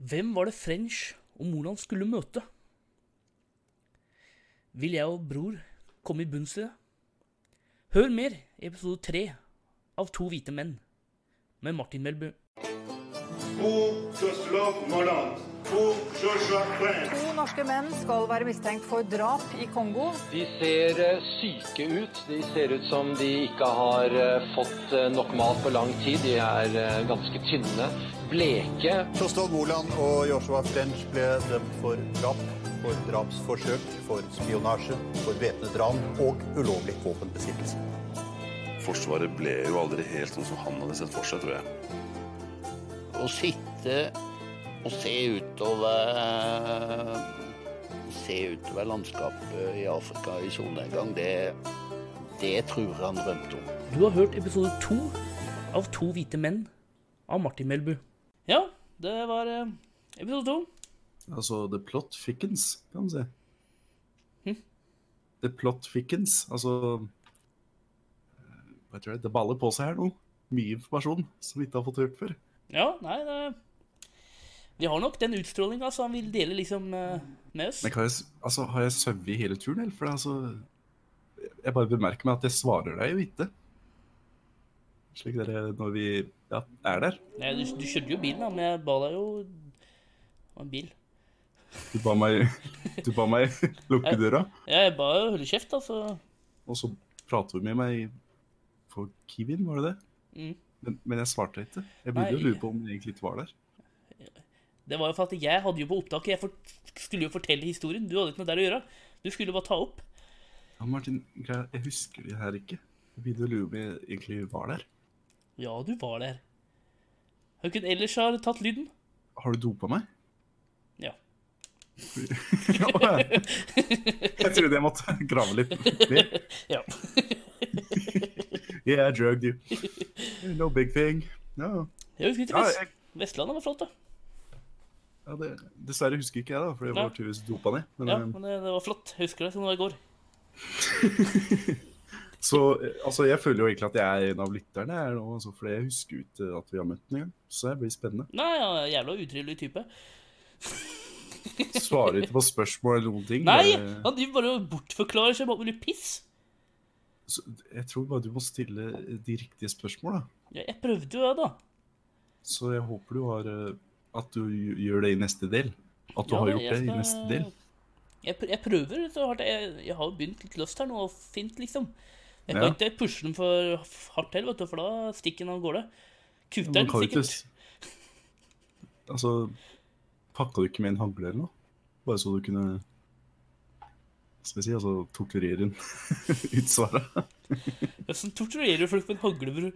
S1: Hvem var det French og Moland skulle møte? Vil jeg og bror komme i bunns i det? Hør mer i episode tre av To hvite menn med Martin Melbu.
S3: Où Jocelyn Moland Où Joshua French
S4: To norske menn skal være mistenkt for drap i Kongo.
S5: De ser eh, syke ut. De ser ut som de ikke har eh, fått eh, nok mat på lang tid. De er eh, ganske tynne, bleke.
S6: Tjostad Moland og Joshua French ble dømt for drap, for drapsforsøk, for spionasje, for væpnet ran og ulovlig våpenbesittelse.
S7: Forsvaret ble jo aldri helt sånn som han hadde sett for seg, tror jeg.
S8: Å sitte og se utover eh, Se utover landskapet i Afrika i solnedgang, det, det tror jeg han drømte om.
S1: Du har hørt episode to av To hvite menn av Martin Melbu. Ja, det var eh, episode to.
S2: Altså The Plot Fickens, kan man si.
S1: Hm?
S2: The Plot Fickens. Altså eh, Hva tror jeg, Det baller på seg her nå. Mye informasjon som vi ikke har fått hørt før.
S1: Ja, nei, det Vi har nok den utstrålinga som han vil dele liksom eh, med oss.
S2: Men kan jeg, s- altså, har jeg sovet hele turen, eller? For det, er altså Jeg bare bemerker meg at jeg svarer deg jo ikke. Slik dere når vi ja, er der.
S1: Nei, du, du kjørte jo bilen, da, men jeg ba deg jo om en bil.
S2: Du ba meg, du ba meg lukke døra.
S1: Ja, jeg ba jo holde kjeft, da, så
S2: Og så prater hun med meg for Kiwin, var det det?
S1: Mm.
S2: Men, men jeg svarte ikke. Jeg begynte
S1: Nei.
S2: å lure på om hun egentlig ikke var der.
S1: Det var jo for at jeg hadde jo på opptaket Jeg for, skulle jo fortelle historien. Du hadde ikke noe der å gjøre. Du skulle jo bare ta opp.
S2: Ja, Martin, greia- jeg husker det her ikke. Jeg begynte å lure på om jeg egentlig var der.
S1: Ja, du var der. Hvem ellers har tatt lyden?
S2: Har du dopa meg?
S1: Ja.
S2: Å, ja. jeg trodde jeg måtte grave litt.
S1: Ja.
S2: yeah, I drugged you. No big thing. No.
S1: Jeg husker ikke
S2: Ja,
S1: Vest
S2: jeg-
S1: Vestlandet var flott, da.
S2: Ja, det, dessverre husker ikke jeg, da, for jeg
S1: Nei.
S2: var tydeligvis dopa ned. Men,
S1: ja,
S2: eh,
S1: men det, det var flott. Jeg husker det som det var i går.
S2: Så eh, altså, jeg føler jo egentlig at jeg er en av lytterne her nå, altså, for jeg husker jo ikke at vi har møtt den engang. Så det blir spennende.
S1: Nei, ja, jævla utrivelig type.
S2: Svarer ikke på spørsmål eller noen ting. Eh,
S1: Nei!
S2: bare-
S1: Han driver bare og bortforklarer seg bare med litt piss.
S2: så, jeg tror bare du må stille de riktige spørsmåla.
S1: Ja, jeg prøvde jo det, da.
S2: Så jeg håper du har eh, At du gj- gjør det i neste del. At du
S1: Ja,
S2: har
S1: da,
S2: gjort
S1: jeg
S2: det i
S1: skal-
S2: neste del.
S1: Jeg, pr- jeg prøver så hardt. Jeg, jeg har jo begynt litt løst her nå, og fint, liksom. Jeg kan
S2: Ja.
S1: ikke pushe den for f- hardt til, vet du, for da stikker den av gårde. Kutter
S2: Man
S1: den
S2: kan jo ikke
S1: sikkert.
S2: s- Altså Pakka du ikke med en hagle eller noe? Bare så du kunne hva Skal vi si, altså torturere den ut svaret?
S1: Hvordan sånn torturerer du folk med en hagle, bror?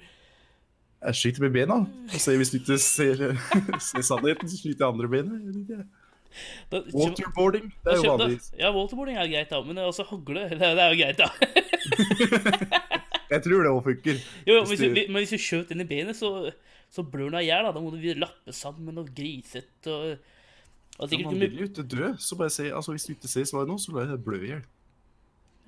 S2: Jeg skyter med bena. Og ser hvis du ikke ser, ser sannheten, så skyter jeg andre benet. Jeg vet ikke.
S1: Da-
S2: Waterboarding, det er
S1: da
S2: jo
S1: skjønner-
S2: vanlig.
S1: Ja, waterboarding er greit, da. Men også hagle, det, det er jo greit, da.
S2: Jeg tror det òg funker.
S1: Jo, jo, men hvis,
S2: Hvis
S1: du,
S2: du-
S1: men hvis du skjøt den i benet, så, så blør den av hjel. Da. da må du lappe sammen og grisete og, og
S2: Ja,
S1: sikkert
S2: Man
S1: mye-
S2: vil jo ikke dø, så bare se, altså hvis du ikke ser svaret nå, så lar jeg blø i hjel.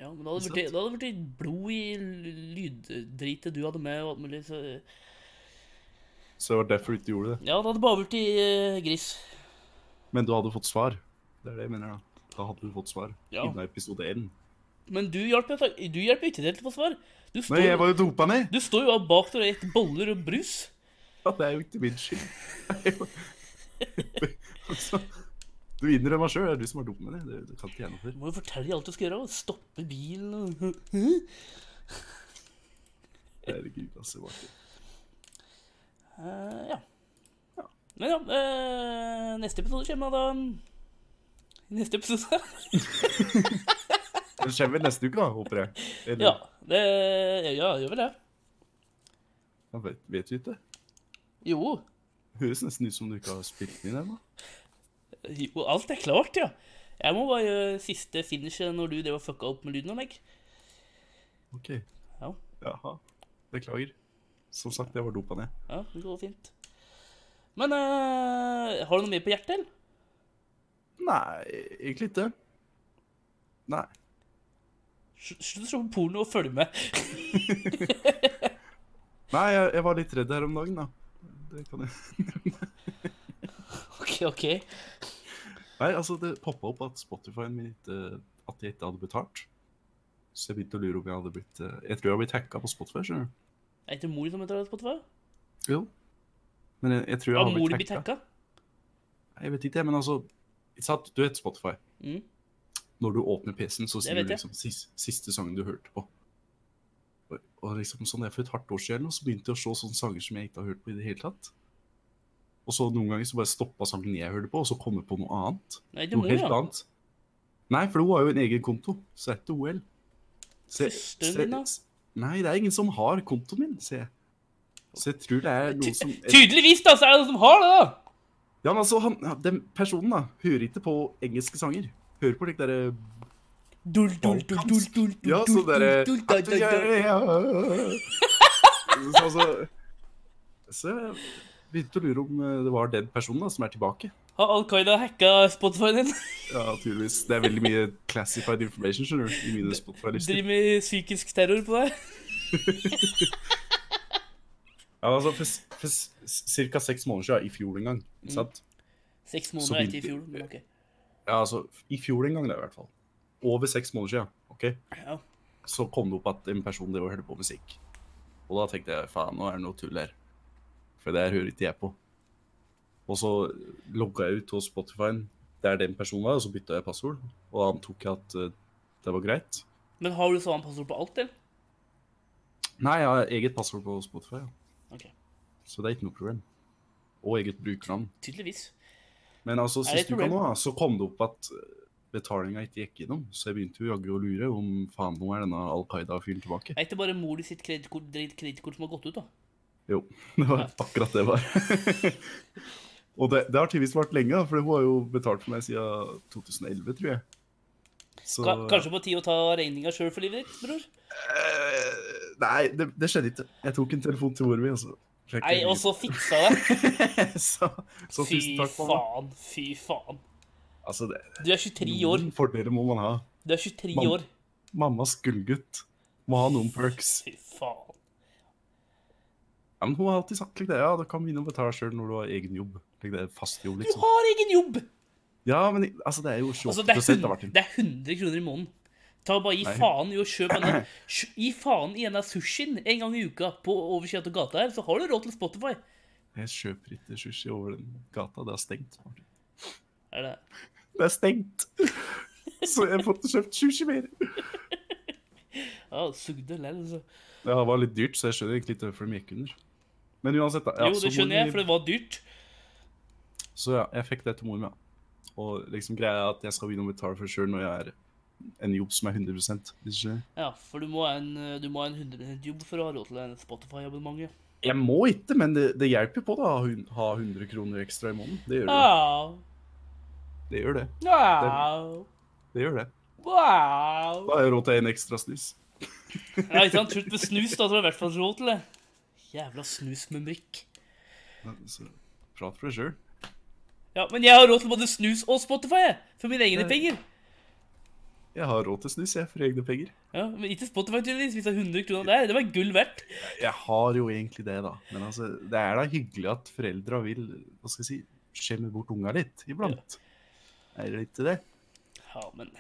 S1: Ja, men da hadde det vært- da hadde det blitt blod i l- lyddritet du hadde med og alt mulig, så
S2: Så det var derfor du ikke gjorde det.
S1: Ja, det hadde bare blitt i eh, gris.
S2: Men du hadde fått svar. Det er det jeg mener, da. Da hadde du fått svar.
S1: Ja.
S2: Innen episode 1.
S1: Men du hjalp meg fa- du hjelper ikke til til å få svar. Du står,
S2: Nei, jeg var jo dopa ned!
S1: du står jo av bak når det er boller og brus.
S2: Ja, det er jo ikke min skyld. Det er jo- Altså, Du innrømmer sjøl, det er du som har dumt med det. Det, det kan ikke jeg noe for.
S1: Du må jo fortelle alt du skal gjøre, og stoppe bilen og
S2: Herregud, altså. Martin.
S1: Eh, ja. Men ja, eh, neste episode kommer da mm, i Neste episode.
S2: Det kommer vel neste uke, da, håper jeg. Eller,
S1: ja, det ja, gjør vel det.
S2: jeg vet, vet du ikke?
S1: Jo.
S2: Høres nesten ut som du ikke har spilt den inn ennå.
S1: Jo, alt er klart, ja. Jeg må bare gjøre siste finishet når du drev og fucka opp med lyden av meg.
S2: OK.
S1: Ja.
S2: Jaha. Beklager. Som sagt, jeg var dopa ned.
S1: Ja, det går fint. Men eh, har du noe mer på hjertet, eller?
S2: Nei, egentlig ikke. Nei.
S1: Sl- Slutt å se på porno og følge med.
S2: Nei, jeg, jeg var litt redd her om dagen, da. Det kan jeg
S1: OK, OK.
S2: Nei, altså det poppa opp at Spotify-en min ikke At jeg ikke hadde betalt. Så jeg begynte å lure om jeg hadde blitt eh, Jeg tror jeg har blitt hacka på Spotify. skjønner du?
S1: Er det ikke mor som heter det på Spotify?
S2: Jo. Men jeg, jeg tror jeg
S1: Har
S2: har
S1: mor
S2: blitt
S1: blitt
S2: hacka.
S1: hacka?
S2: Nei, Jeg vet ikke, men altså ikke sant? Du vet Spotify.
S1: Mm.
S2: Når du åpner PC-en, så
S1: Det
S2: sier
S1: vet
S2: du
S1: jeg.
S2: liksom siste, siste sangen du hørte på. Og, og liksom sånn der For et hardt år siden eller noe, så begynte jeg å se sånne sanger som jeg ikke har hørt på i det hele tatt. Og så noen ganger så bare stoppa sangen jeg hørte på, og så kom jeg på noe annet.
S1: Nei, det
S2: Noe
S1: må jo
S2: helt
S1: da.
S2: annet. Nei, for hun har jo en egen konto, så det er ikke OL. Se-
S1: Søsteren
S2: se-
S1: din, da?
S2: Nei, det er ingen som har kontoen min, ser jeg. Så jeg tror det er noen som
S1: Tydeligvis, da, så er det noen som har det, da!
S2: Ja, men altså, han, ja, den personen da, hører ikke på engelske sanger. Hører på slik derre
S1: Dul, dul, dul, dul, dul, dul,
S2: Ja, sånn derre
S1: dul, dul, dul, dul.
S2: Så altså Så jeg begynte å lure om eh, det var den personen da, som er tilbake.
S1: Har Al Qaida hacka Spotify-en din?
S2: Ja, naturligvis. Det er veldig mye classified information, skjønner du, i mine Spotify-lister.
S1: Driver med psykisk terror på deg?
S2: Ja, altså, for, s- for s- cirka seks måneder siden, i fjor en gang,
S1: Mm.
S2: ikke sant?
S1: Seks
S2: Så
S1: måneder etter i
S2: begynte-
S1: fjor, men OK.
S2: Ja, altså, i fjor en gang da, i hvert fall. Over seks måneder siden, ok?
S1: Ja.
S2: Så kom det opp at en person drev og hørte på musikk. Og da tenkte jeg, faen, nå er det noe tull her. For det her hører ikke jeg på. Og så logget jeg ut hos Spotify, der den personen var, og så bytta jeg passord. Og antok jeg at eh, det var greit.
S1: Men har du samme passord på alt, eller?
S2: Nei, jeg har eget passord på Spotify, ja.
S1: Ok.
S2: så det er ikke noe problem. Og eget brukernavn.
S1: Tydeligvis.
S2: Men altså,
S1: Er det et
S2: sist uka
S1: problem?
S2: nå, da, så kom det opp at betalinga ikke gikk innom. Så jeg begynte jo jaggu å lure om faen nå er denne Al Qaida-fyren tilbake.
S1: Er ikke bare mor di sitt kredittkort kredittkort som har gått ut, da?
S2: Jo, det var akkurat det var. og det, det har tydeligvis vært lenge, da, for hun har jo betalt for meg siden 2011, tror jeg. Så
S1: Ka kanskje på tide å ta regninga sjøl for livet ditt, bror?
S2: eh, Nei, det, det skjedde ikke. Jeg tok en telefon til mor mi, og så fikk
S1: Nei,
S2: jeg-
S1: og så fiksa det.
S2: så, så
S1: fy
S2: tusen takk, mamma.
S1: faen, fy faen.
S2: Altså, det,
S1: Du er 23 år.
S2: Noen fordeler må man ha.
S1: Du er 23
S2: Mam-
S1: år.
S2: Mammas gullgutt må ha noen perks.
S1: Fy faen.
S2: Ja, men hun har alltid sagt like det, ja, du kan begynne å betale sjøl når du har egen jobb. Like det, fast jobb,
S1: Du
S2: liksom.
S1: har egen jobb!
S2: Ja, men altså, det er jo 28
S1: Altså, det, er
S2: prosent av
S1: 100,
S2: hvert.
S1: det er 100 kroner i måneden. Ta og bare Gi
S2: Nei.
S1: faen i å kjøpe denne, sj- gi faen i denne sushien en gang i uka på over Skiato gata her, så har du råd til Spotify.
S2: Jeg kjøper ikke sushi over den gata, det er stengt. Martin.
S1: Er det?
S2: Det er stengt. Så jeg får ikke kjøpt sushi mer.
S1: Ja, sugde lell, altså.
S2: Ja, det var litt dyrt, så jeg skjønner egentlig ikke hvorfor de gikk under. Men uansett, da. ja,
S1: Jo, det
S2: så mor
S1: skjønner jeg,
S2: mi-
S1: for det var dyrt.
S2: Så ja, jeg fikk det til mor mi. ja. Og liksom greia er at jeg skal begynne å betale for sjøl når jeg er en jobb som er 100 hvis du skjønner.
S1: Ja, for du må ha en, eh, du må ha en 100 jobb for å ha råd til en Spotify-abonnement. ja.
S2: Jeg må ikke, men det, det hjelper på da å ha hun- ha 100 kroner ekstra i måneden. Det gjør det.
S1: Wow.
S2: Det gjør det.
S1: Wow.
S2: Det gjør det.
S1: Wow.
S2: Da har jeg råd til en ekstra snus.
S1: Ja, ikke sant? Slutt med snus, da, så har du i hvert fall råd til det. Jævla snusmumrikk.
S2: Så prat for deg sjøl.
S1: Ja, men jeg har råd til både snus og Spotify, jeg. For mine egne
S2: Ja.
S1: penger.
S2: Jeg har råd til snus, jeg, for egne penger.
S1: Ja, men ikke Spotify, tydeligvis. Hvis det er 100 kroner der, det var gull verdt.
S2: Jeg har jo egentlig det, da. Men altså, det er da hyggelig at foreldra vil hva skal jeg si, skjemme bort unga litt iblant. Er det ikke det?
S1: Ja, men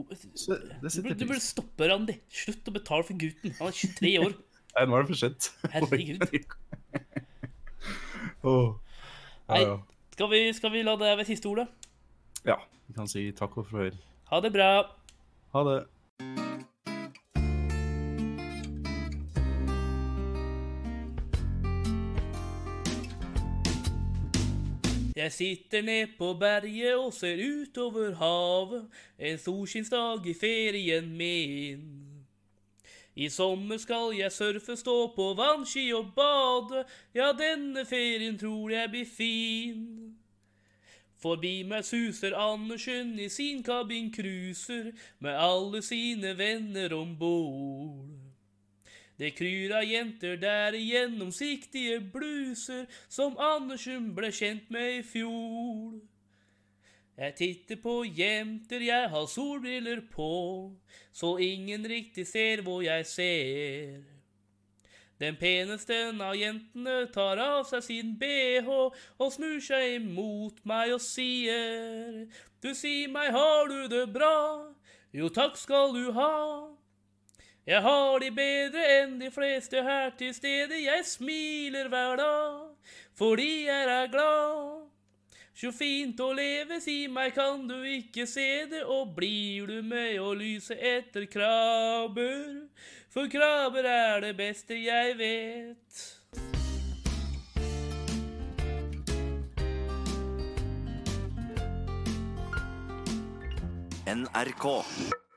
S2: Så
S1: Du
S2: det
S1: burde,
S2: setter
S1: du burde
S2: pris
S1: stoppe, Randi. Slutt å betale for gutten. Han er 23 år.
S2: Nei, nå er det for sent.
S1: Herregud.
S2: Åh.
S1: Nei,
S2: Ja, ja.
S1: skal vi, skal vi la det være siste ordet?
S2: ja, vi kan si takk og farvel.
S1: Ha det bra.
S2: Ha det.
S1: Jeg sitter ned på berget og ser utover havet En solskinnsdag i ferien min I sommer skal jeg surfe, stå på vannski og bade Ja, denne ferien tror jeg blir fin Forbi meg suser Andersen i sin kabin cruiser Med alle sine venner ombord det kryr av jenter der i gjennomsiktige bluser som Andersen ble kjent med i fjor. Jeg titter på jenter, jeg har solbriller på, så ingen riktig ser hvor jeg ser. Den peneste av jentene tar av seg sin bh og snur seg imot meg og sier Du si meg, har du det bra? Jo, takk skal du ha. Jeg har de bedre enn de fleste her til stede. Jeg smiler hver dag fordi jeg er glad. Så fint å leve, si meg, kan du ikke se det? Og blir du med å lyse etter krabber? For krabber er det beste jeg vet.
S13: NRK.